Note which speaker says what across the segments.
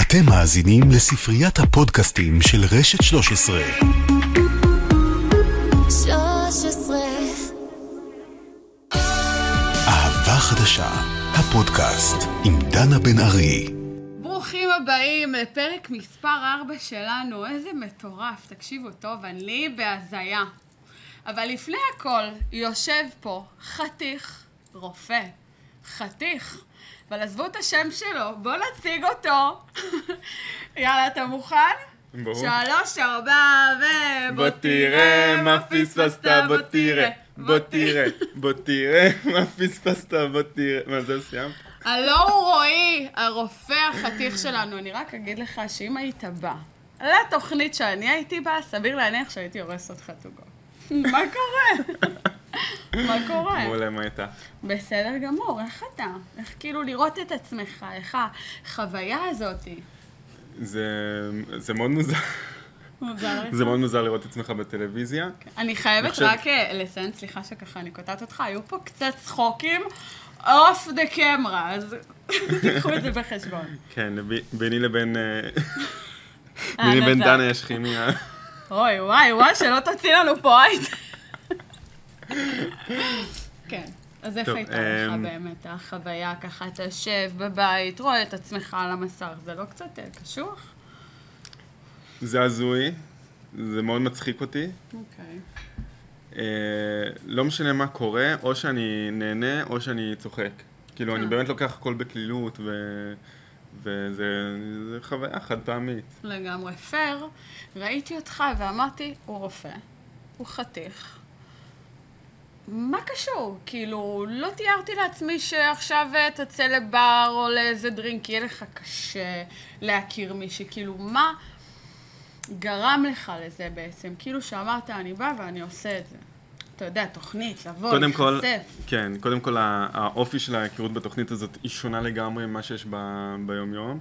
Speaker 1: אתם מאזינים לספריית הפודקאסטים של רשת 13.
Speaker 2: 13
Speaker 1: אהבה חדשה, הפודקאסט עם דנה בן ארי.
Speaker 3: ברוכים הבאים, פרק מספר 4 שלנו. איזה מטורף, תקשיבו טוב, אני בהזיה. אבל לפני הכל, יושב פה חתיך רופא. חתיך. אבל עזבו את השם שלו, בואו נציג אותו. יאללה, אתה מוכן?
Speaker 4: ברור.
Speaker 3: שלוש, ארבע, ו...
Speaker 4: בוא תראה מה פספסת, בוא תראה. בוא תראה, בוא תראה מה פספסת, בוא תראה. מה זה סיימת?
Speaker 3: הלו הוא רועי, הרופא החתיך שלנו. אני רק אגיד לך שאם היית בא לתוכנית שאני הייתי בה, סביר להניח שהייתי הורס אותך תוגו. מה קורה? מה קורה?
Speaker 4: מעולה, מה הייתה?
Speaker 3: בסדר גמור, איך אתה? איך כאילו לראות את עצמך, איך החוויה הזאתי?
Speaker 4: זה- זה מאוד מוזר.
Speaker 3: מוזר לך.
Speaker 4: זה מאוד מוזר לראות את עצמך בטלוויזיה.
Speaker 3: אני חייבת
Speaker 4: עכשיו-
Speaker 3: רק אה, לציין, סליחה שככה אני קוטעת אותך, היו פה קצת צחוקים אוף דה קמרה, אז תיקחו את זה בחשבון.
Speaker 4: כן, ב- ביני לבין... אה, ביני לבין
Speaker 3: הנזק.
Speaker 4: דנה יש כימיה.
Speaker 3: אוי, וואי, וואי, שלא תוציא לנו פה הייט. כן, אז איך
Speaker 4: טוב,
Speaker 3: הייתה לך
Speaker 4: אמ,
Speaker 3: באמת החוויה? ככה אתה יושב בבית, רואה את עצמך על המסך, זה לא קצת אה, קשוח?
Speaker 4: זה הזוי, זה מאוד מצחיק אותי.
Speaker 3: אוקיי.
Speaker 4: אה, לא משנה מה קורה, או שאני נהנה או שאני צוחק. כאילו, אני
Speaker 3: אה.
Speaker 4: באמת לוקח הכל בקלילות, ו- וזה זה חוויה חד פעמית.
Speaker 3: לגמרי פייר. ראיתי אותך ואמרתי, הוא רופא, הוא חתיך. מה קשור? כאילו, לא תיארתי לעצמי שעכשיו אה, תצא לבר או לאיזה דרינק, יהיה לך קשה להכיר מישהי. כאילו, מה גרם לך לזה בעצם? כאילו שאמרת, אני באה ואני עושה את זה. אתה יודע, תוכנית, לבוא,
Speaker 4: קודם כל,
Speaker 3: להיחשף.
Speaker 4: כן, קודם כל ה- האופי של ההיכרות בתוכנית הזאת היא שונה לגמרי ממה שיש ב- ביומיום.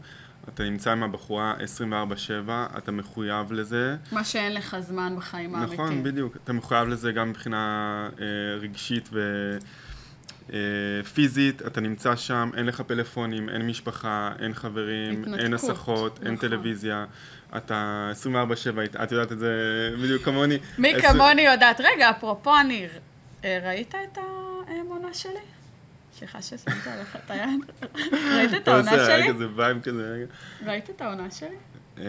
Speaker 4: אתה נמצא עם הבחורה 24/7, אתה מחויב לזה.
Speaker 3: מה שאין לך זמן בחיים האמיתיים.
Speaker 4: נכון, בדיוק. אתה מחויב לזה גם מבחינה אה, רגשית ופיזית. אתה נמצא שם, אין לך פלאפונים, אין משפחה, אין חברים,
Speaker 3: התנתקות,
Speaker 4: אין הסחות, אין
Speaker 3: נכון.
Speaker 4: טלוויזיה. אתה 24/7, את יודעת את זה בדיוק כמוני.
Speaker 3: מי
Speaker 4: עשרים-
Speaker 3: כמוני יודעת. רגע, אפרופו, אני... אה, ראית את העונה שלי? סליחה ששמת עליך את היד. ראית את
Speaker 4: אתה
Speaker 3: העונה
Speaker 4: עושה,
Speaker 3: שלי?
Speaker 4: לא, היה כזה וייב כזה. רגע.
Speaker 3: ראית את העונה שלי?
Speaker 4: אמ,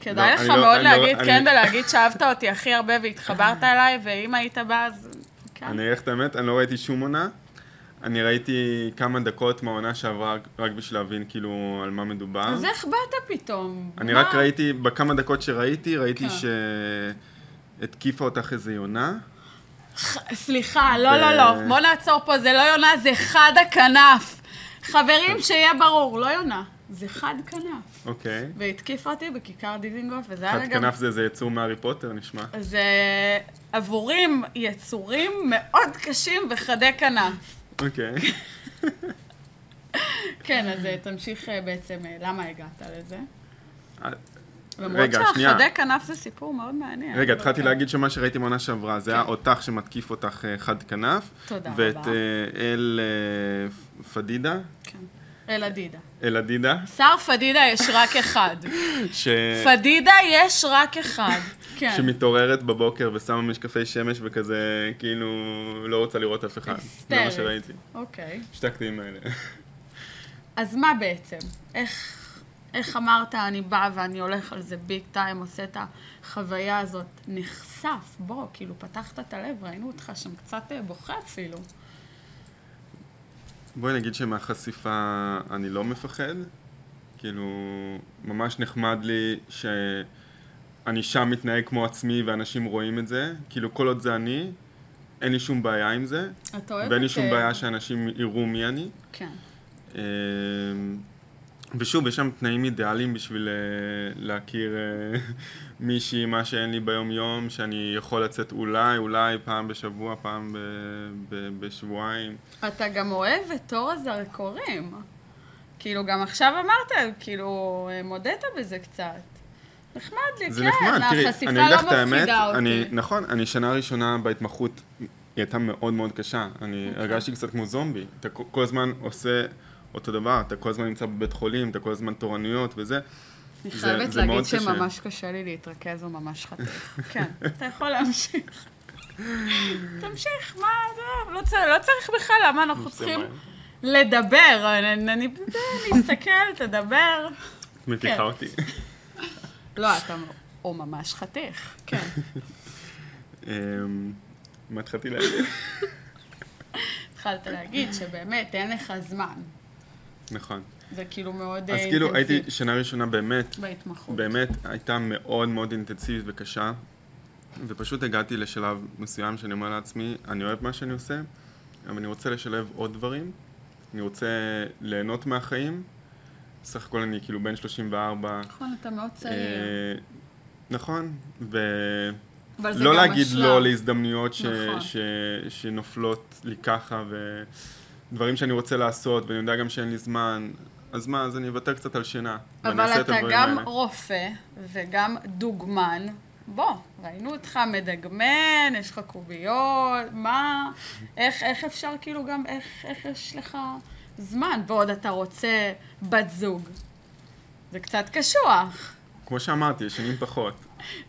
Speaker 3: כדאי
Speaker 4: לא,
Speaker 3: לך
Speaker 4: אני לא-
Speaker 3: מאוד
Speaker 4: אני לא-
Speaker 3: להגיד
Speaker 4: אני-
Speaker 3: כן ולהגיד שאהבת אותי הכי הרבה והתחברת אליי, ואם היית בא, אז... כן.
Speaker 4: אני אגיד לך את האמת, אני לא ראיתי שום עונה. אני ראיתי כמה דקות מהעונה שעברה רק- רק בשביל להבין כאילו על מה מדובר.
Speaker 3: אז איך באת פתאום?
Speaker 4: אני
Speaker 3: מה?
Speaker 4: רק ראיתי, בכמה דקות שראיתי, ראיתי
Speaker 3: כן.
Speaker 4: שהתקיפה אותך איזה יונה.
Speaker 3: סליחה, לא, לא,
Speaker 4: אה-
Speaker 3: לא. בוא נעצור פה, זה לא יונה, זה חד הכנף. חברים, שיהיה ברור, לא יונה. זה חד כנף.
Speaker 4: אוקיי.
Speaker 3: והתקיפה אותי בכיכר דיזינגוף, וזה היה
Speaker 4: חד
Speaker 3: לה אה, גם
Speaker 4: כנף זה איזה יצור מהארי פוטר נשמע.
Speaker 3: זה עבורים יצורים מאוד קשים וחדי כנף.
Speaker 4: אוקיי.
Speaker 3: כן, אז אה, תמשיך אה, בעצם, אה, למה הגעת לזה?
Speaker 4: אה,
Speaker 3: למרות
Speaker 4: רגע, שנייה.
Speaker 3: שהחדי כנף זה סיפור מאוד מעניין.
Speaker 4: רגע, התחלתי
Speaker 3: אוקיי. כן.
Speaker 4: להגיד שמה שראיתי מעונה שעברה, זה היה אותך שמתקיף אותך אה, חד כנף.
Speaker 3: תודה
Speaker 4: ואת
Speaker 3: רבה.
Speaker 4: אה, אל אה, פ- פדידה,
Speaker 3: כן. אל עדידה.
Speaker 4: אל עדידה,
Speaker 3: שר פדידה יש רק אחד.
Speaker 4: ש...
Speaker 3: פדידה יש רק אחד. כן.
Speaker 4: שמתעוררת בבוקר ושמה משקפי שמש וכזה, כאילו, לא רוצה לראות אף אחד. זה מה
Speaker 3: היסטרית.
Speaker 4: שראיתי.
Speaker 3: אוקיי.
Speaker 4: שתי הקטעים האלה.
Speaker 3: אז מה בעצם? איך... איך אמרת, אני באה ואני הולך על זה ביג טיים, עושה את החוויה הזאת. נחשף, בוא, כאילו, פתחת את הלב, ראינו אותך שם קצת אה, בוכה אפילו.
Speaker 4: בואי נגיד שמהחשיפה אני לא מפחד. כאילו, ממש נחמד לי שאני שם מתנהג כמו עצמי ואנשים רואים את זה. כאילו, כל עוד זה אני, אין לי שום בעיה עם זה.
Speaker 3: אתה אוהב את...
Speaker 4: ואין לי שום
Speaker 3: אה,
Speaker 4: בעיה שאנשים יראו מי אני.
Speaker 3: כן.
Speaker 4: אה, ושוב, יש שם תנאים אידיאליים בשביל אה, להכיר אה, מישהי, מה שאין לי ביום-יום, שאני יכול לצאת אולי, אולי פעם בשבוע, פעם ב, ב, בשבועיים.
Speaker 3: אתה גם אוהב את אור הזרקורים. כאילו, גם עכשיו אמרת, כאילו, אה, מודית בזה קצת. נחמד לי,
Speaker 4: זה
Speaker 3: כן,
Speaker 4: נחמד, תראי,
Speaker 3: החשיפה
Speaker 4: אני אגיד
Speaker 3: לא
Speaker 4: לך את האמת,
Speaker 3: מפחידה אותי.
Speaker 4: אני, נכון, אני שנה ראשונה בהתמחות,
Speaker 3: אוקיי.
Speaker 4: היא הייתה מאוד מאוד קשה, אני הרגשתי קצת כמו זומבי, אתה כל- כל הזמן עושה אותו דבר, אתה כל הזמן נמצא בבית חולים, אתה כל הזמן תורנויות וזה.
Speaker 3: אני
Speaker 4: זה-
Speaker 3: חייבת
Speaker 4: זה
Speaker 3: להגיד
Speaker 4: מאוד קשה.
Speaker 3: שממש קשה לי להתרכז וממש חתיך. כן, אתה יכול להמשיך. תמשיך, מה, לא, לא, צריך- לא צריך בכלל, למה אנחנו
Speaker 4: זה
Speaker 3: צריכים
Speaker 4: מה-
Speaker 3: לדבר? אני- אני מסתכל, תדבר.
Speaker 4: את מתיחה
Speaker 3: כן.
Speaker 4: אותי.
Speaker 3: לא, אתה או ממש חתיך. כן.
Speaker 4: אמ, מה התחלתי להגיד?
Speaker 3: התחלת להגיד שבאמת אין לך זמן.
Speaker 4: נכון.
Speaker 3: זה כאילו מאוד
Speaker 4: אז
Speaker 3: אה,
Speaker 4: כאילו
Speaker 3: אינטנסיבי
Speaker 4: הייתי שנה ראשונה באמת,
Speaker 3: בהתמחות.
Speaker 4: באמת הייתה מאוד מאוד אינטנסיבית וקשה, ופשוט הגעתי לשלב מסוים שאני אומר לעצמי, אני אוהב מה שאני עושה, אבל אני רוצה לשלב עוד דברים, אני רוצה ליהנות מהחיים. סך הכל אני כאילו בן 34.
Speaker 3: נכון, אתה מאוד צעיר.
Speaker 4: אה, נכון,
Speaker 3: אבל זה
Speaker 4: ולא
Speaker 3: גם
Speaker 4: להגיד
Speaker 3: השלב.
Speaker 4: לא להזדמנויות ש...
Speaker 3: נכון.
Speaker 4: ש... שנופלות לי ככה, ודברים שאני רוצה לעשות, ואני יודע גם שאין לי זמן, אז מה, אז אני אוותר קצת על שינה. ואני
Speaker 3: אבל
Speaker 4: אעשה את
Speaker 3: אתה
Speaker 4: הדברים
Speaker 3: גם
Speaker 4: האלה.
Speaker 3: רופא וגם דוגמן. בוא, ראינו אותך מדגמן, יש לך קוביות, מה, איך, איך אפשר כאילו גם, איך, איך יש לך זמן, ועוד אתה רוצה בת זוג. זה קצת קשוח,
Speaker 4: כמו שאמרתי, ישנים פחות,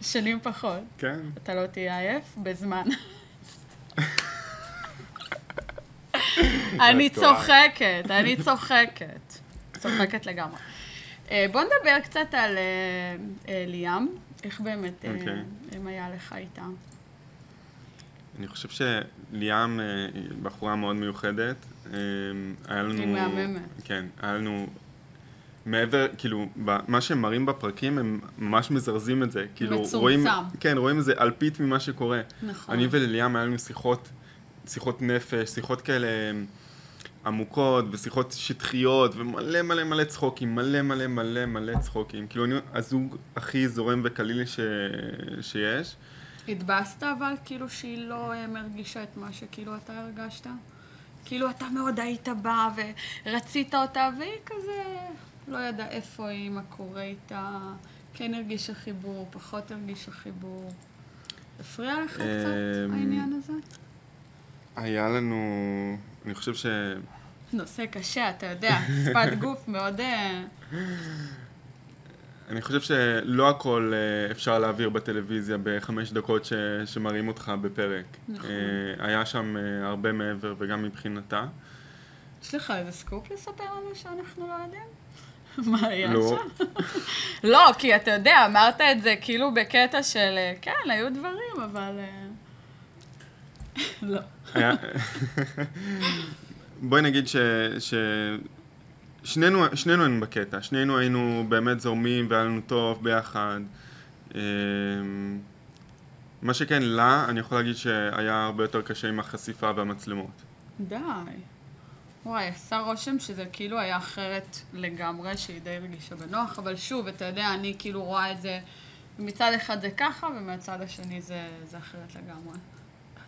Speaker 3: שנים פחות.
Speaker 4: כן?
Speaker 3: אתה לא תהיה עייף בזמן. אני
Speaker 4: טועה.
Speaker 3: צוחקת, אני צוחקת. צוחקת לגמרי. אה, בוא נדבר קצת על אה, אה, ליאם, איך באמת, אה,
Speaker 4: אוקיי.
Speaker 3: אם היה לך איתה.
Speaker 4: אני חושב שליאם אה, היא בחורה מאוד מיוחדת. אה, היה לנו...
Speaker 3: היא מהממת.
Speaker 4: כן, היה לנו... מעבר, כאילו, ב- מה שהם מראים בפרקים, הם ממש מזרזים את זה. כאילו,
Speaker 3: מצומצם.
Speaker 4: רואים... כן, רואים איזה אלפית ממה שקורה.
Speaker 3: נכון.
Speaker 4: אני ולליאם היה לנו שיחות, שיחות נפש, שיחות כאלה אה, עמוקות, ושיחות שטחיות, ומלא מלא מלא צחוקים, מלא מלא מלא מלא צחוקים. כאילו, אני הזוג הכי זורם וקליל ש... שיש.
Speaker 3: התבאסת אבל, כאילו שהיא לא אה, מרגישה את מה שכאילו אתה הרגשת? כאילו אתה מאוד היית בה ורצית אותה, והיא כזה לא ידעה איפה היא, מה קורה איתה, כן הרגישה חיבור, פחות הרגישה חיבור. הפריע לך
Speaker 4: אמ,
Speaker 3: קצת העניין הזה?
Speaker 4: היה לנו, אני חושב ש...
Speaker 3: נושא קשה, אתה יודע, שפת גוף מאוד... אה,
Speaker 4: אני חושב שלא הכל אה, אפשר להעביר בטלוויזיה בחמש דקות ש... שמראים אותך בפרק.
Speaker 3: נכון.
Speaker 4: אה, היה שם אה, הרבה מעבר וגם מבחינתה.
Speaker 3: יש לך איזה סקופ לספר לנו שאנחנו לא יודעים? מה היה
Speaker 4: לא.
Speaker 3: שם? לא, כי אתה יודע, אמרת את זה כאילו בקטע של, אה, כן, היו דברים, אבל... אה, לא.
Speaker 4: היה... בואי נגיד ש... ש... שנינו, שנינו היינו בקטע, שנינו היינו באמת זורמים והיה לנו טוב ביחד. אמ, מה שכן, לה, אני יכול להגיד שהיה הרבה יותר קשה עם החשיפה והמצלמות.
Speaker 3: די. וואי, עשה רושם שזה כאילו היה אחרת לגמרי, שהיא די הרגישה בנוח, אבל שוב, אתה יודע, אני כאילו רואה את זה, מצד אחד זה ככה, ומהצד השני זה, זה אחרת לגמרי.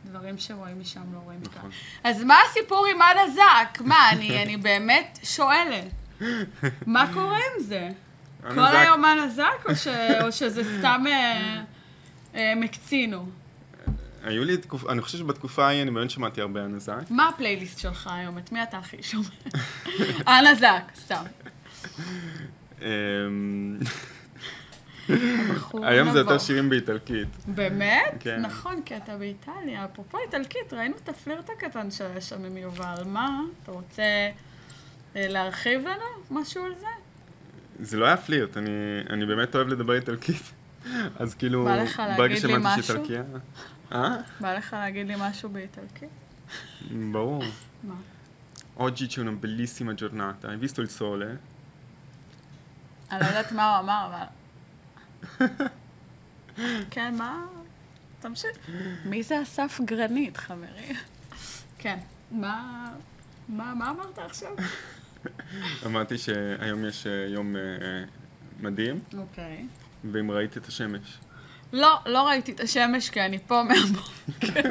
Speaker 3: דברים שרואים משם לא רואים מכאן.
Speaker 4: נכון.
Speaker 3: אז מה הסיפור עם עד הזק? מה, אני, אני באמת שואלת. מה קורה עם זה? כל
Speaker 4: הנזק-
Speaker 3: היום על הזק, או, ש, או שזה סתם אה, אה, מקצינו?
Speaker 4: היו לי תקופ... אני חושב שבתקופה ההיא אני באמת שמעתי הרבה על נזק.
Speaker 3: מה הפלייליסט שלך היום? את מי אתה הכי שומע? אנה זק, סתם.
Speaker 4: אמ,
Speaker 3: בחור
Speaker 4: היום זה יותר
Speaker 3: נבוך.
Speaker 4: שירים באיטלקית.
Speaker 3: באמת?
Speaker 4: כן.
Speaker 3: נכון, כי אתה באיטליה. אפרופו איטלקית, ראינו את הפלירט הקטן שהיה שם עם יובל. מה? אתה רוצה אה, להרחיב לנו משהו על זה?
Speaker 4: זה לא היה פלירט, אני, אני באמת אוהב לדבר איטלקית. אז כאילו,
Speaker 3: בא לך
Speaker 4: ברגע
Speaker 3: להגיד לי
Speaker 4: שהבנתי
Speaker 3: משהו?
Speaker 4: שאיטלקיה... אה?
Speaker 3: בא לך להגיד לי משהו באיטלקית?
Speaker 4: ברור.
Speaker 3: מה?
Speaker 4: Oggi c'è una bellissima giornata, hai visto il sole?
Speaker 3: אני לא יודעת מה הוא אמר, אבל... כן, מה? תמשיך. מי זה אסף גרנית, חברים? כן. מה... מה, מה אמרת עכשיו?
Speaker 4: אמרתי שהיום יש אה, יום אה, אה, מדהים,
Speaker 3: אוקיי.
Speaker 4: ואם ראית את השמש.
Speaker 3: לא, לא ראיתי את השמש כי אני פה מהבוקר.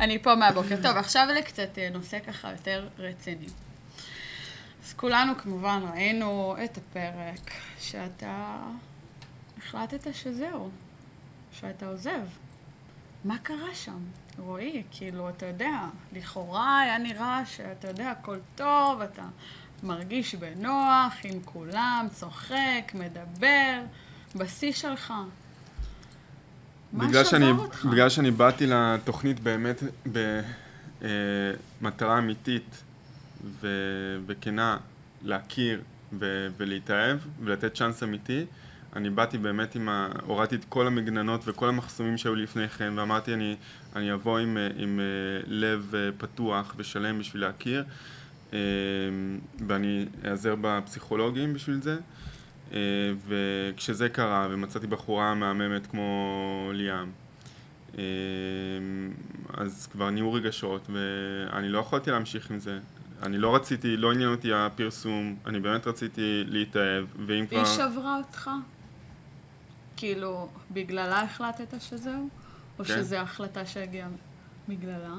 Speaker 3: אני פה מהבוקר. טוב, עכשיו לקצת אה, נושא ככה יותר רציני. אז כולנו כמובן ראינו את הפרק שאתה החלטת שזהו, שאתה עוזב. מה קרה שם? רועי, כאילו, אתה יודע, לכאורה היה נראה שאתה יודע, הכל טוב, אתה מרגיש בנוח עם כולם, צוחק, מדבר, בשיא שלך. מה
Speaker 4: בגלל שאני,
Speaker 3: שבר אותך?
Speaker 4: בגלל שאני באתי לתוכנית באמת במטרה אמיתית ו, וכנה להכיר ו, ולהתאהב ולתת צ'אנס אמיתי, אני באתי באמת עם ה... הורדתי את כל המגננות וכל המחסומים שהיו לפני כן ואמרתי אני, אני אבוא עם, אה, עם אה, לב אה, פתוח ושלם בשביל להכיר אה, ואני איעזר בפסיכולוגים בשביל זה. אה, וכשזה קרה ומצאתי בחורה מהממת כמו ליאם, אה, אז כבר נהיו רגשות ואני לא יכולתי להמשיך עם זה. אני לא רציתי, לא עניין אותי הפרסום, אני באמת רציתי להתאהב, ואם כבר...
Speaker 3: היא שברה אותך? כאילו, בגללה החלטת שזהו? או
Speaker 4: כן.
Speaker 3: שזו החלטה שהגיעה בגללה?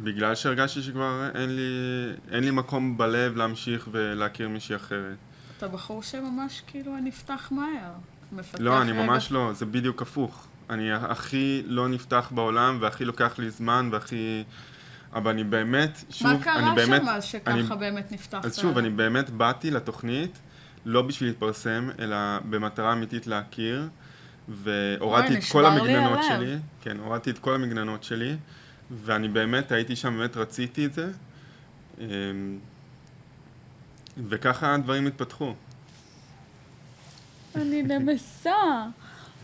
Speaker 4: בגלל שהרגשתי שכבר אין לי, אין לי מקום בלב להמשיך ולהכיר מישהי אחרת.
Speaker 3: אתה בחור שממש כאילו נפתח מהר. מפתח
Speaker 4: לא, אני
Speaker 3: רגע-
Speaker 4: ממש לא, זה בדיוק הפוך. אני הכי לא נפתח בעולם, והכי לוקח לי זמן, והכי... אבל אני באמת, שוב,
Speaker 3: מה קרה
Speaker 4: אני באמת...
Speaker 3: שם אז שככה
Speaker 4: אני-
Speaker 3: באמת נפתחת?
Speaker 4: אז שוב, אני באמת באתי לתוכנית, לא בשביל להתפרסם, אלא במטרה אמיתית להכיר,
Speaker 3: אוי,
Speaker 4: והורדתי את
Speaker 3: נשבר
Speaker 4: כל
Speaker 3: לי
Speaker 4: המגננות
Speaker 3: הלב.
Speaker 4: שלי, כן, הורדתי את כל המגננות שלי, ואני באמת הייתי שם, באמת רציתי את זה, אמ, וככה הדברים התפתחו.
Speaker 3: אני נמסה.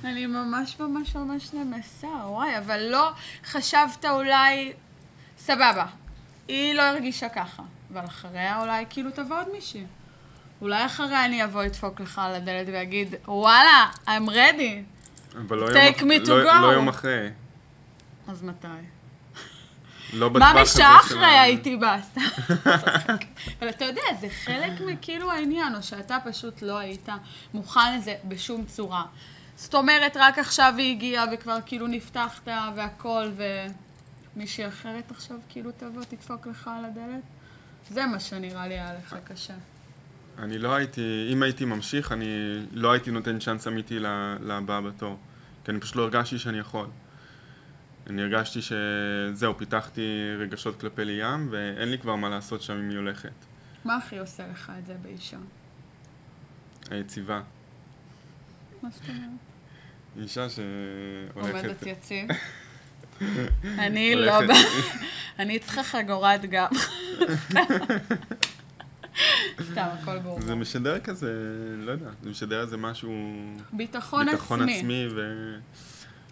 Speaker 3: אני ממש ממש ממש נמסה, וואי, אבל לא חשבת אולי... סבבה, היא לא הרגישה ככה. אבל אחריה אולי כאילו תבוא עוד מישהי. אולי אחריה אני אבוא לדפוק לך על הדלת ואגיד, וואלה, I'm ready.
Speaker 4: אבל לא
Speaker 3: Take
Speaker 4: יום, אח-
Speaker 3: me to
Speaker 4: לא,
Speaker 3: go.
Speaker 4: לא יום אחרי.
Speaker 3: אז מתי?
Speaker 4: לא בטווח
Speaker 3: מה
Speaker 4: הזה
Speaker 3: משעה
Speaker 4: של
Speaker 3: אחרי
Speaker 4: ה-
Speaker 3: הייתי בא? סתם. אבל אתה יודע, זה חלק מכאילו העניין, או שאתה פשוט לא היית מוכן לזה בשום צורה. זאת אומרת, רק עכשיו היא הגיעה וכבר כאילו נפתחת והכל, ומישהי אחרת עכשיו כאילו תבוא, תדפוק לך על הדלת? זה מה שנראה לי היה לך קשה.
Speaker 4: אני לא הייתי, אם הייתי ממשיך, אני לא הייתי נותן צ'אנס אמיתי ל- לבא בתור. כי אני פשוט לא הרגשתי שאני יכול. אני הרגשתי שזהו, פיתחתי רגשות כלפי ליאם, ואין לי כבר מה לעשות שם אם היא הולכת.
Speaker 3: מה הכי עושה לך את זה באישה?
Speaker 4: היציבה.
Speaker 3: מה זאת אומרת?
Speaker 4: אישה שהולכת...
Speaker 3: עומדת יציב. אני לא...
Speaker 4: הולכת.
Speaker 3: ב- אני צריכה חגורת גב. סתם, הכל ברור.
Speaker 4: זה משדר כזה, לא יודע, זה משדר איזה משהו...
Speaker 3: ביטחון
Speaker 4: ביטחון
Speaker 3: עצמי.
Speaker 4: עצמי ו...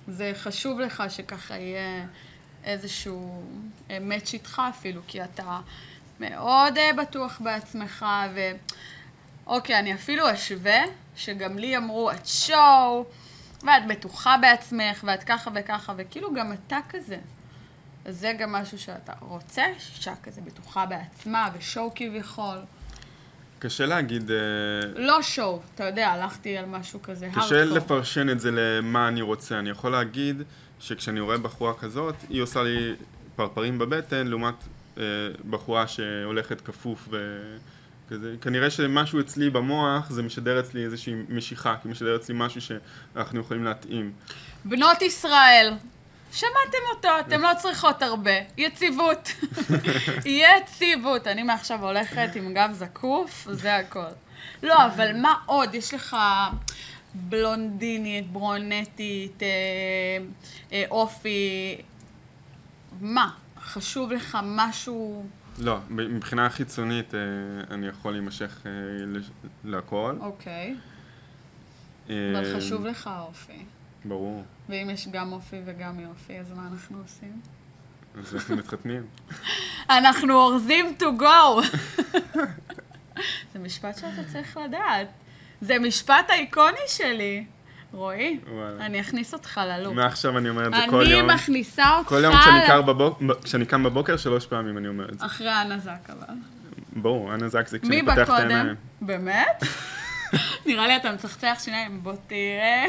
Speaker 3: זה חשוב לך שככה יהיה איזשהו אה, מאץ' איתך אפילו, כי אתה מאוד אה, בטוח בעצמך, ו... אוקיי, אני אפילו אשווה, שגם לי אמרו, את שואו, ואת בטוחה בעצמך, ואת ככה וככה, וכאילו גם אתה כזה. אז זה גם משהו שאתה רוצה, שאישה כזה בטוחה בעצמה, ושואו כביכול.
Speaker 4: קשה להגיד... אה,
Speaker 3: לא שואו, אתה יודע, הלכתי על משהו כזה,
Speaker 4: קשה
Speaker 3: hardcore.
Speaker 4: לפרשן את זה למה אני רוצה. אני יכול להגיד שכשאני רואה בחורה כזאת, היא עושה לי פרפרים בבטן, לעומת אה, בחורה שהולכת כפוף וכזה. כנראה שמשהו אצלי במוח, זה משדר אצלי איזושהי משיכה, כי משדר אצלי משהו שאנחנו יכולים להתאים.
Speaker 3: בנות ישראל, שמעתם אותו, אתם לא צריכות הרבה. יציבות. יציבות. אני מעכשיו הולכת עם גב זקוף, זה הכל. לא, אבל מה עוד? יש לך בלונדינית, ברונטית, אה, אה, אופי. מה? חשוב לך משהו?
Speaker 4: לא, מבחינה חיצונית אה, אני יכול להימשך אה, לש- להכל.
Speaker 3: אוקיי,
Speaker 4: אה,
Speaker 3: אבל חשוב לך האופי.
Speaker 4: ברור.
Speaker 3: ואם יש גם אופי וגם יופי, אז מה אנחנו עושים?
Speaker 4: אז אנחנו מתחתנים.
Speaker 3: אנחנו אורזים to go. זה משפט שאתה צריך לדעת. זה משפט אייקוני שלי. רועי,
Speaker 4: וואלה.
Speaker 3: אני אכניס אותך ללופ.
Speaker 4: מעכשיו אני אומר את זה כל
Speaker 3: אני
Speaker 4: יום.
Speaker 3: מכניסה אותך
Speaker 4: כל יום כשאני קם בבוק- כשאני קם בבוקר, שלוש פעמים אני אומר את זה.
Speaker 3: אחרי הנזק אבל.
Speaker 4: ברור, אנה זקסי,
Speaker 3: מי
Speaker 4: כשאני פותח את
Speaker 3: בקודם?
Speaker 4: העיניים.
Speaker 3: באמת? נראה לי אתה מצחצח שיניים, בוא תראה.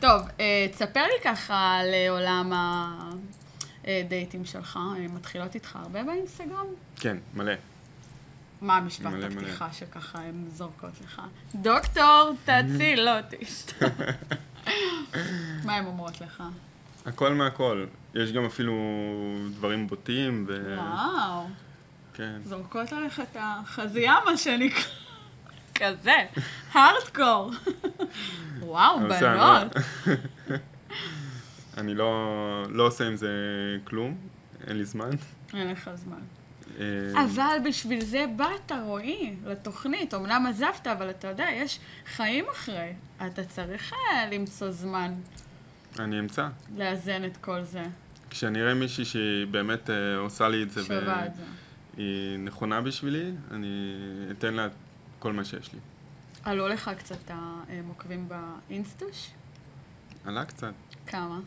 Speaker 3: טוב, אה, תספר לי ככה על אה, עולם הדייטים שלך. אה, מתחילות איתך הרבה באינסטגרם?
Speaker 4: כן, מלא.
Speaker 3: מה המשפט
Speaker 4: מלא, מלא.
Speaker 3: הפתיחה שככה הן
Speaker 4: Mm-hmm.
Speaker 3: זורקות לך? דוקטור, תציל אותי. סתם. מה, הן אומרות לך?
Speaker 4: הכל מהכל. יש גם אפילו דברים בוטים, ו...
Speaker 3: לא. וואו,
Speaker 4: כן.
Speaker 3: זורקות עליך את החזייה, מה שנקרא. כזה, הארדקור. וואו,
Speaker 4: אבל בסדר, אני
Speaker 3: בנות.
Speaker 4: לא- אני לא, לא עושה עם זה כלום, אין לי זמן.
Speaker 3: אין לך זמן.
Speaker 4: אה,
Speaker 3: אבל בשביל זה באת, רועי, לתוכנית. אמנם עזבת, אבל אתה יודע, יש חיים אחרי. אתה צריך אה, למצוא זמן
Speaker 4: אני אמצא.
Speaker 3: לאזן את כל זה.
Speaker 4: כשאני אראה מישהי שהיא באמת אה, עושה לי את זה,
Speaker 3: שווה את זה.
Speaker 4: והיא נכונה בשבילי, אני אתן לה כל מה שיש לי.
Speaker 3: עלו לך קצת המוקבים באינסטוש?
Speaker 4: עלה קצת.
Speaker 3: כמה?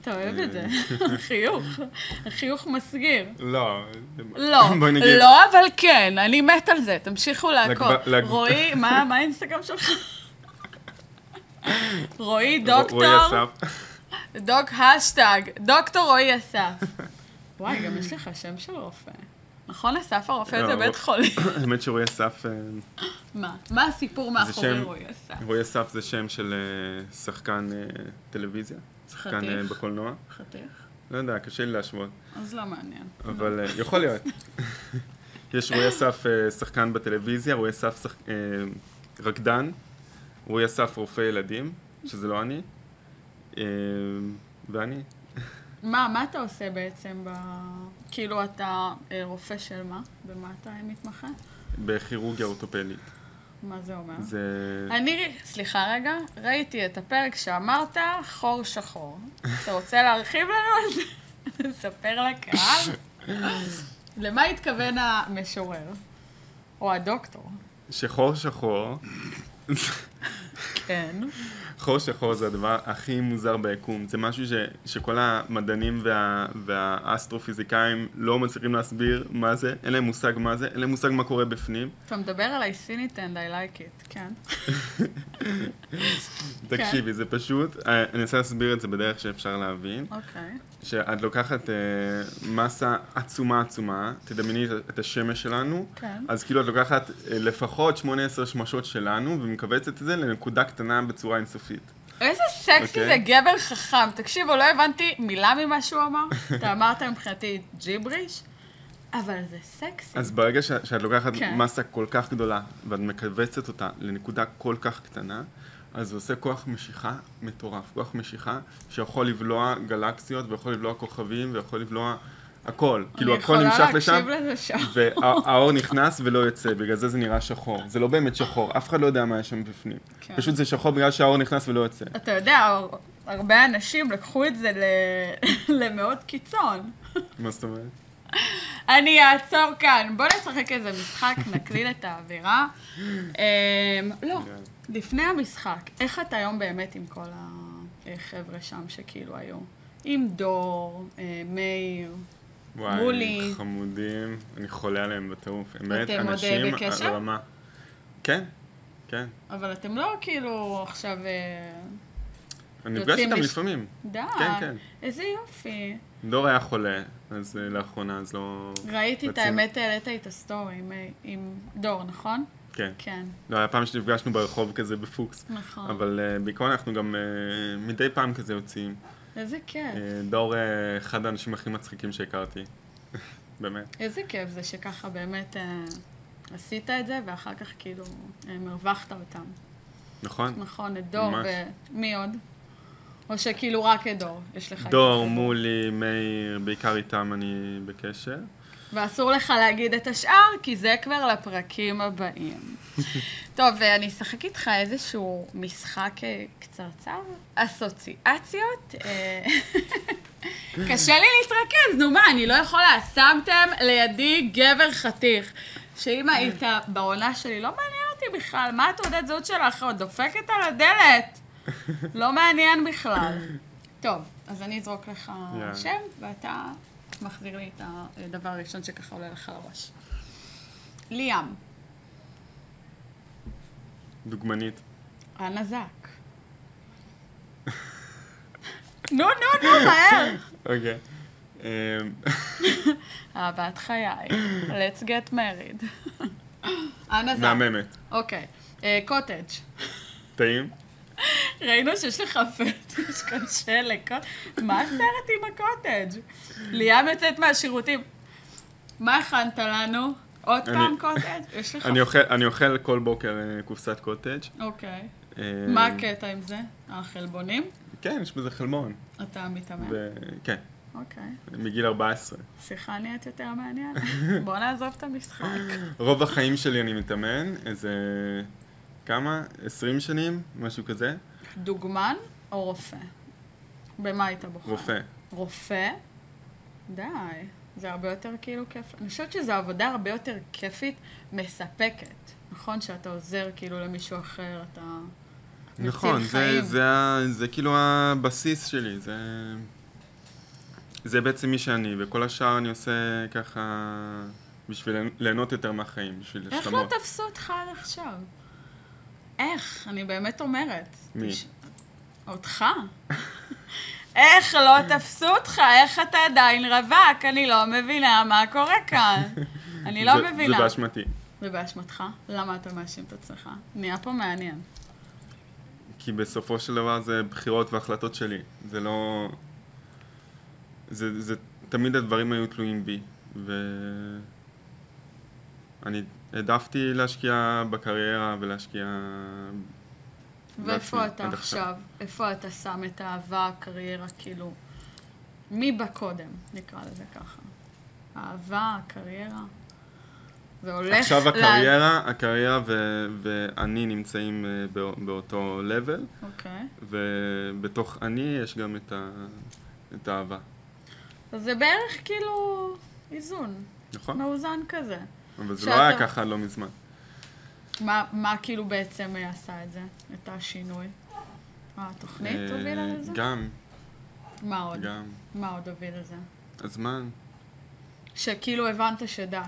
Speaker 3: אתה אוהב את זה.
Speaker 4: אה.
Speaker 3: החיוך. החיוך מסגיר.
Speaker 4: לא.
Speaker 3: לא,
Speaker 4: בואי נגיד.
Speaker 3: לא, אבל כן, אני מת על זה, תמשיכו לעקוב.
Speaker 4: לגב- לג-
Speaker 3: רועי, מה מה האינסטגרם שלך? רועי
Speaker 4: ר- רועי
Speaker 3: דוקטור,
Speaker 4: אסף.
Speaker 3: דוק השטג, דוקטור רועי אסף. וואי, גם יש לך שם של רופא. נכון, אסף הרופא
Speaker 4: לא,
Speaker 3: זה
Speaker 4: רופא.
Speaker 3: בית חולים.
Speaker 4: האמת שרועי אסף, אה,
Speaker 3: מה? מה הסיפור מאחורי
Speaker 4: שם-
Speaker 3: רועי אסף?
Speaker 4: רועי אסף זה שם של אה, שחקן אה, טלוויזיה. שחקן אה,
Speaker 3: חתיך.
Speaker 4: בקולנוע.
Speaker 3: חתיך?
Speaker 4: לא יודע, קשה לי להשוות.
Speaker 3: אז לא מעניין.
Speaker 4: אבל אה, יכול להיות. יש רועי אסף אה, שחקן בטלוויזיה, רועי אסף שח- אה, רקדן, רועי אסף רופא ילדים, שזה לא אני, אה, ואני.
Speaker 3: מה, מה אתה עושה בעצם ב... כאילו, אתה אה, רופא של מה? במה אתה מתמחה?
Speaker 4: בכירורגיה אורתופדית.
Speaker 3: מה זה אומר?
Speaker 4: זה...
Speaker 3: אה. אני, סליחה רגע, ראיתי את הפרק שאמרת, חור שחור. אתה רוצה להרחיב לנו על זה? לספר לקהל? למה התכוון המשורר? או הדוקטור?
Speaker 4: שחור שחור,
Speaker 3: כן.
Speaker 4: חור שחור זה הדבר הכי מוזר ביקום. זה משהו ש, שכל המדענים וה, והאסטרופיזיקאים לא מצליחים להסביר מה זה, אין להם מושג מה זה, אין להם מושג מה קורה בפנים.
Speaker 3: אתה מדבר עליי סינית and I like it, כן.
Speaker 4: תקשיבי, זה פשוט, אה, אני אנסה להסביר את זה בדרך שאפשר להבין.
Speaker 3: אוקיי.
Speaker 4: שאת לוקחת אה, מסה עצומה עצומה, תדמייני את- את השמש שלנו,
Speaker 3: כן.
Speaker 4: אז כאילו את לוקחת אה, לפחות 18 שמשות שלנו ומכווצת את זה לנקודה קטנה בצורה אינסופית.
Speaker 3: איזה סקסי
Speaker 4: אוקיי.
Speaker 3: זה גבר חכם. תקשיבו, לא הבנתי מילה ממה שהוא אמר. אתה אמרת מבחינתי ג'יבריש, אבל זה סקסי.
Speaker 4: אז ברגע ש- שאת לוקחת
Speaker 3: כן.
Speaker 4: מסה כל כך גדולה ואת מכווצת אותה לנקודה כל כך קטנה, אז זה עושה כוח משיכה מטורף, כוח משיכה שיכול לבלוע גלקסיות ויכול לבלוע כוכבים ויכול לבלוע הכל, כאילו הכל נמשך
Speaker 3: אני
Speaker 4: לשם.
Speaker 3: יכולה להקשיב לזה שעה.
Speaker 4: והאור נכנס ולא יוצא, בגלל זה זה נראה שחור. זה לא באמת שחור, אף אחד לא יודע מה יש שם בפנים.
Speaker 3: כן.
Speaker 4: פשוט זה שחור בגלל שהאור נכנס ולא יוצא.
Speaker 3: אתה יודע, הר- הרבה אנשים לקחו את זה ל- למאוד קיצון.
Speaker 4: מה זאת אומרת?
Speaker 3: אני אעצור כאן. בוא נשחק איזה משחק, נקליל את האווירה. אמ, לא,
Speaker 4: כן.
Speaker 3: לפני המשחק, איך אתה היום באמת עם כל החבר'ה שם שכאילו היו? עם דור, אה, מאיר.
Speaker 4: וואי,
Speaker 3: מולי.
Speaker 4: חמודים, אני חולה עליהם בטירוף. אמת,
Speaker 3: אתם עוד, אה,
Speaker 4: אנשים,
Speaker 3: בקשר?
Speaker 4: הרמה. כן, כן.
Speaker 3: אבל אתם לא כאילו עכשיו... אה,
Speaker 4: אני
Speaker 3: יוצאים
Speaker 4: נפגש איתם
Speaker 3: לש- אה.
Speaker 4: לפעמים.
Speaker 3: די.
Speaker 4: כן, כן.
Speaker 3: איזה יופי.
Speaker 4: דור היה חולה, אז אה, לאחרונה, אז לא...
Speaker 3: ראיתי את
Speaker 4: רצינו-
Speaker 3: האמת, העלית איתו סטורי עם- אה, עם דור, נכון?
Speaker 4: כן.
Speaker 3: כן,
Speaker 4: לא, היה פעם שנפגשנו ברחוב כזה בפוקס.
Speaker 3: נכון.
Speaker 4: אבל אה, בעיקרון אנחנו גם אה, מדי פעם כזה יוצאים.
Speaker 3: איזה כיף.
Speaker 4: אה, דור אה, אחד האנשים הכי מצחיקים שהכרתי. באמת.
Speaker 3: איזה כיף זה שככה באמת אה, עשית את זה, ואחר כך כאילו אה, מרווחת אותם.
Speaker 4: נכון?
Speaker 3: נכון, את דור
Speaker 4: ממש.
Speaker 3: ומי עוד? או שכאילו רק את דור, יש לך...
Speaker 4: דור,
Speaker 3: כזה.
Speaker 4: מולי, מאיר, בעיקר איתם אני בקשר.
Speaker 3: ואסור לך להגיד את השאר, כי זה כבר לפרקים הבאים. טוב, ואני אשחק איתך איזשהו משחק אה, קצרצר. אסוציאציות. אה, קשה לי להתרכז, נו מה, אני לא יכולה. שמתם לידי גבר חתיך. שאם היית בעונה שלי, לא מעניין אותי בכלל. מה התעודת זהות שלך עוד דופקת על הדלת? לא מעניין בכלל. טוב, אז אני אזרוק לך
Speaker 4: יאללה.
Speaker 3: שם, ואתה מחזיר לי את הדבר הראשון שככה עולה לך לראש. ליאם,
Speaker 4: דוגמנית.
Speaker 3: אנה זק. נו, נו, נו, מהר.
Speaker 4: אוקיי. אה,
Speaker 3: אהבת חיי, let's get married. אנה זק.
Speaker 4: מהממת.
Speaker 3: אוקיי, אה, קוטג'.
Speaker 4: טעים?
Speaker 3: ראינו שיש לך פטיש קשה לקוטג'. מה הסרט עם הקוטג'? ליאם יוצאת מהשירותים. מה הכנת לנו? עוד
Speaker 4: אני-
Speaker 3: פעם קוטג'? יש לך...
Speaker 4: אני אוכל- אני אוכל כל בוקר אה, קופסת קוטג'.
Speaker 3: אוקיי.
Speaker 4: אה,
Speaker 3: מה הקטע עם זה? החלבונים?
Speaker 4: כן, יש בזה חלמון.
Speaker 3: אתה מתאמן.
Speaker 4: ו- כן,
Speaker 3: אוקיי.
Speaker 4: מגיל 14.
Speaker 3: שיחה נהיית יותר מעניינת. בוא נעזוב את המשחק.
Speaker 4: רוב החיים שלי אני מתאמן, איזה... כמה? 20 שנים? משהו כזה?
Speaker 3: דוגמן או רופא? במה היית בוחר?
Speaker 4: רופא.
Speaker 3: רופא? די. זה הרבה יותר כאילו כיף. אני חושבת שזו עבודה הרבה יותר כיפית, מספקת. נכון שאתה עוזר כאילו למישהו אחר, אתה... מציל
Speaker 4: נכון, זה,
Speaker 3: חיים.
Speaker 4: זה, ה- זה כאילו הבסיס שלי, זה... זה בעצם מי שאני, וכל השאר אני עושה ככה בשביל ליהנות יותר מהחיים, בשביל
Speaker 3: איך
Speaker 4: השלמות.
Speaker 3: לא תפסו אותך עד עכשיו? איך? אני באמת אומרת.
Speaker 4: מי?
Speaker 3: תש- אותך. איך לא תפסו אותך? איך אתה עדיין רווק? אני לא מבינה מה קורה כאן. אני לא
Speaker 4: זה,
Speaker 3: מבינה.
Speaker 4: זה באשמתי.
Speaker 3: זה באשמתך? למה אתה מאשים את עצמך? נהיה פה מעניין.
Speaker 4: כי בסופו של דבר זה בחירות והחלטות שלי. זה לא... זה, זה... תמיד הדברים היו תלויים בי. ואני העדפתי להשקיע בקריירה ולהשקיע... בעצמי
Speaker 3: ואיפה אתה
Speaker 4: עד
Speaker 3: עכשיו? איפה אתה שם את האהבה, הקריירה, כאילו... מי בא קודם, נקרא לזה ככה. האהבה, הקריירה. זה הולך...
Speaker 4: עכשיו
Speaker 3: ל-
Speaker 4: הקריירה, הקריירה ו- ואני נמצאים אה, בא- באותו level,
Speaker 3: אוקיי.
Speaker 4: ובתוך אני יש גם את, ה- את האהבה,
Speaker 3: אז זה בערך כאילו איזון,
Speaker 4: נכון?
Speaker 3: מאוזן כזה.
Speaker 4: אבל זה לא
Speaker 3: שאתה-
Speaker 4: היה ככה עד לא מזמן.
Speaker 3: מה, מה כאילו בעצם עשה את זה, את השינוי? התוכנית
Speaker 4: אה,
Speaker 3: הובילה לזה?
Speaker 4: גם,
Speaker 3: מה עוד?
Speaker 4: גם.
Speaker 3: מה עוד הוביל לזה?
Speaker 4: הזמן.
Speaker 3: שכאילו הבנת שדי.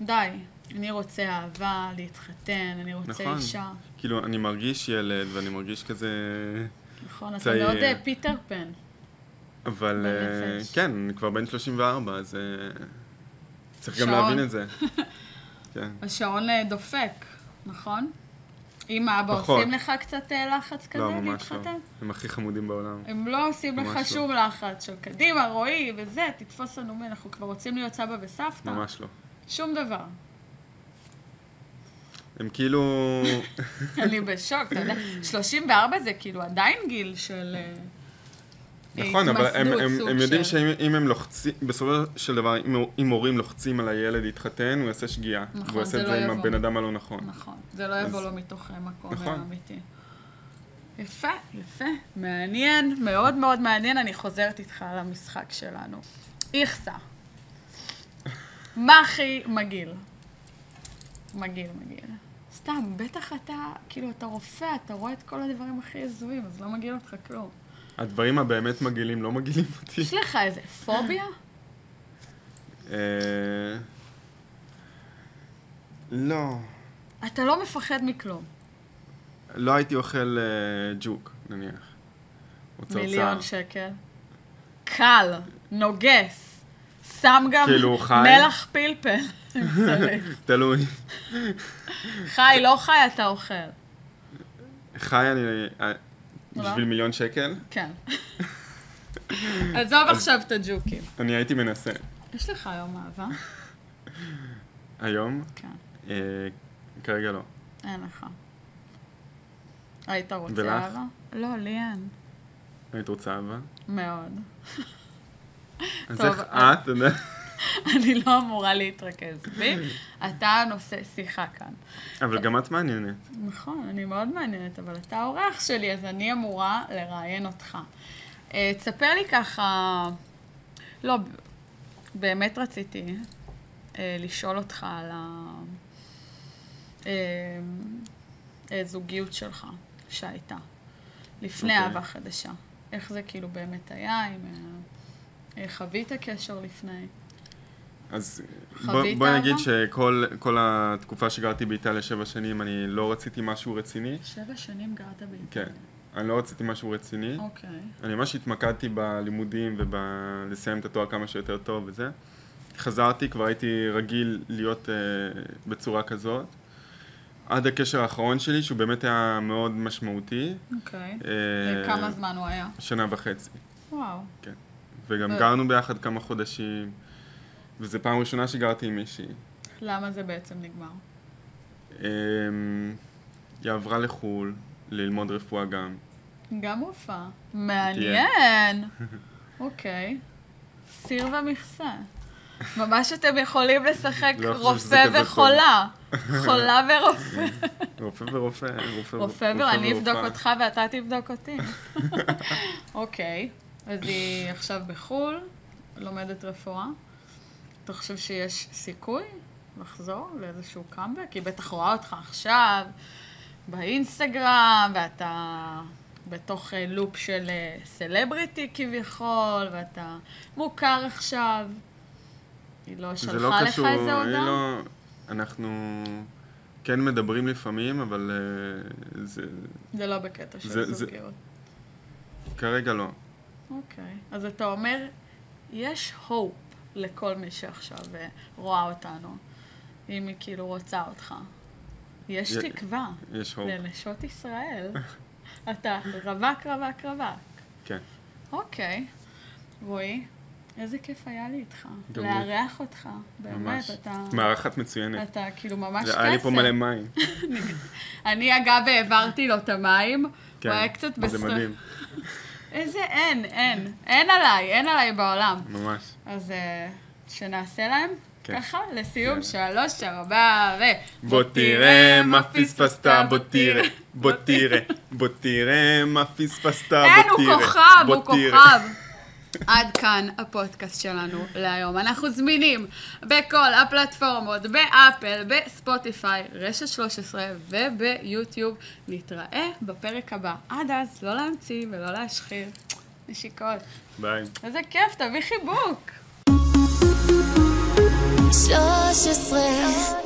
Speaker 3: די. אני רוצה אהבה, להתחתן, אני רוצה
Speaker 4: נכון.
Speaker 3: אישה.
Speaker 4: כאילו, אני מרגיש ילד ואני מרגיש כזה...
Speaker 3: נכון, אתה
Speaker 4: צעיר.
Speaker 3: מאוד אה, פיטר פן.
Speaker 4: אבל אה,
Speaker 3: בנפש.
Speaker 4: כן, אני כבר בן 34, אז אה, צריך גם
Speaker 3: שעון.
Speaker 4: להבין את זה. כן.
Speaker 3: השעון אה, דופק, נכון? אם אבא
Speaker 4: פחות.
Speaker 3: עושים לך קצת אה, לחץ כזה
Speaker 4: לא, ממש לא.
Speaker 3: להתחתן?
Speaker 4: הם הכי חמודים בעולם.
Speaker 3: הם לא עושים
Speaker 4: ממש
Speaker 3: לך
Speaker 4: לא.
Speaker 3: שום לחץ של קדימה, רועי, וזה, תתפוס לנו מי, אנחנו כבר רוצים להיות סבא וסבתא.
Speaker 4: ממש לא.
Speaker 3: שום דבר.
Speaker 4: הם כאילו...
Speaker 3: אני בשוק, אתה יודע, 34 זה כאילו עדיין גיל של... אה,
Speaker 4: נכון, אבל הם,
Speaker 3: התמסדות,
Speaker 4: הם,
Speaker 3: סוג
Speaker 4: הם יודעים
Speaker 3: של-
Speaker 4: שאם אם הם לוחצים, בסופו של דבר, אם, הוא- אם הורים לוחצים על הילד להתחתן, הוא יעשה שגיאה.
Speaker 3: נכון,
Speaker 4: והוא יעשה
Speaker 3: זה
Speaker 4: את
Speaker 3: לא
Speaker 4: זה עם
Speaker 3: יבוא.
Speaker 4: הבן אדם הלא נכון.
Speaker 3: נכון, זה לא
Speaker 4: אז-
Speaker 3: יבוא לו מתוך אה, מקום
Speaker 4: נכון.
Speaker 3: אה, אמיתי. יפה, יפה, מעניין, מאוד מאוד מעניין, אני חוזרת איתך על המשחק שלנו. איכסה. מה הכי מגעיל? מגעיל, מגעיל. סתם, בטח אתה, כאילו, אתה רופא, אתה רואה את כל הדברים הכי הזויים, אז לא מגעיל אותך כלום.
Speaker 4: הדברים הבאמת מגעילים לא מגעילים אותי.
Speaker 3: יש לך איזה פוביה?
Speaker 4: אה, לא.
Speaker 3: אתה לא מפחד מכלום.
Speaker 4: לא הייתי אוכל אה, ג'וק, נניח. או צרצר.
Speaker 3: מיליון שקל. קל, נוגס. שם גם
Speaker 4: כאילו, חי?
Speaker 3: מלח פלפל. אם צריך.
Speaker 4: תלוי.
Speaker 3: חי, לא חי, אתה אוכל.
Speaker 4: חי אני... אה,
Speaker 3: לא?
Speaker 4: בשביל מיליון שקל,
Speaker 3: כן. עזוב עכשיו את הג'וקים.
Speaker 4: אני הייתי מנסה.
Speaker 3: יש לך היום אהבה?
Speaker 4: היום,
Speaker 3: כן,
Speaker 4: אה, כרגע לא.
Speaker 3: אין לך. היית
Speaker 4: ולך?
Speaker 3: רוצה אהבה? לא, לי אין.
Speaker 4: היית רוצה אהבה?
Speaker 3: מאוד.
Speaker 4: אז
Speaker 3: טוב,
Speaker 4: איך את? אתה יודע?
Speaker 3: אני לא אמורה להתרכז בי. אתה הנושא שיחה כאן.
Speaker 4: אבל גם את מעניינת.
Speaker 3: נכון, אני מאוד מעניינת, אבל אתה האורח שלי, אז אני אמורה לראיין אותך. אה, תספר לי ככה, לא, ב- באמת רציתי אה, לשאול אותך על ה... אה, אה, זוגיות שלך שהייתה, לפני
Speaker 4: אוקיי.
Speaker 3: אהבה חדשה. איך זה כאילו באמת היה, אם אה, אה, חווית קשר לפני?
Speaker 4: אז
Speaker 3: חווית
Speaker 4: בוא- בואי
Speaker 3: אהבה?
Speaker 4: נגיד שכל כל התקופה שגרתי באיטליה שבע שנים, אני לא רציתי משהו רציני.
Speaker 3: שבע שנים גרת באיטליה.
Speaker 4: כן. אני לא רציתי משהו רציני.
Speaker 3: אוקיי.
Speaker 4: אני ממש התמקדתי בלימודים ובלסיים את התואר כמה שיותר טוב וזה. חזרתי, כבר הייתי רגיל להיות אה, בצורה כזאת, עד הקשר האחרון שלי, שהוא באמת היה מאוד משמעותי.
Speaker 3: אוקיי.
Speaker 4: אה,
Speaker 3: וכמה זמן הוא היה?
Speaker 4: שנה וחצי,
Speaker 3: וואו.
Speaker 4: כן. וגם
Speaker 3: ו-
Speaker 4: גרנו ביחד כמה חודשים, וזו פעם ראשונה שגרתי עם מישהי.
Speaker 3: למה זה בעצם נגמר?
Speaker 4: אמ, היא עברה לחו"ל, ללמוד רפואה גם.
Speaker 3: גם הופעה. מעניין. אוקיי. סיר ומכסה. ממש אתם יכולים לשחק
Speaker 4: לא חושב שזה
Speaker 3: רופא
Speaker 4: כזה טוב.
Speaker 3: וחולה. חולה ורופא.
Speaker 4: רופא ורופא, רופא
Speaker 3: רופא ואני אבדוק אותך ואתה תבדוק אותי. אוקיי. אז היא עכשיו בחו"ל, לומדת רפואה. אתה חושב שיש סיכוי לחזור לאיזשהו קאמבק? היא בטח רואה אותך עכשיו באינסטגרם, ואתה בתוך אה, לופ של אה, סלבריטי כביכול, ואתה מוכר עכשיו. היא לא
Speaker 4: זה לא
Speaker 3: שלחה לך
Speaker 4: קשור,
Speaker 3: איזה
Speaker 4: היא
Speaker 3: הודעה?
Speaker 4: לא... אנחנו כן מדברים לפעמים, אבל אה, זה...
Speaker 3: זה לא בקטע של
Speaker 4: זה- זה-
Speaker 3: זוגיות.
Speaker 4: כרגע לא.
Speaker 3: אוקיי. אז אתה אומר, יש hope לכל מי שעכשיו אה, רואה אותנו, אם היא כאילו רוצה אותך. יש
Speaker 4: י-
Speaker 3: תקווה
Speaker 4: יש הופ.
Speaker 3: לנשות ישראל. אתה רווק, רווק, רווק.
Speaker 4: כן.
Speaker 3: אוקיי. רועי, איזה כיף היה לי איתך.
Speaker 4: גם לי.
Speaker 3: לארח אותך. באמת,
Speaker 4: ממש.
Speaker 3: אתה...
Speaker 4: מארחת מצוינת.
Speaker 3: אתה כאילו ממש
Speaker 4: היה לי פה
Speaker 3: קסם.
Speaker 4: מלא מים.
Speaker 3: אני אגב העברתי לו את המים,
Speaker 4: כן.
Speaker 3: הוא היה קצת
Speaker 4: זה
Speaker 3: בסדר.
Speaker 4: מדהים,
Speaker 3: איזה אין, אין. אין עליי, אין עליי בעולם.
Speaker 4: ממש.
Speaker 3: אז אה, שנעשה להם
Speaker 4: כן.
Speaker 3: ככה, לסיום,
Speaker 4: כן.
Speaker 3: שלוש, ארבע, ו...
Speaker 4: בוא תראה מה פספסת, בוא תראה, בוא תראה, בוא תראה מה פספסת, בוא תראה.
Speaker 3: אין, הוא כוכב,
Speaker 4: בוא
Speaker 3: הוא
Speaker 4: תראה.
Speaker 3: כוכב. עד כאן הפודקאסט שלנו להיום. אנחנו זמינים בכל הפלטפורמות, באפל, בספוטיפיי, רשת 13 וביוטיוב. נתראה בפרק הבא. עד אז, לא להמציא ולא להשחיר. נשיקות.
Speaker 4: ביי.
Speaker 3: איזה כיף, תביא חיבוק.
Speaker 2: 13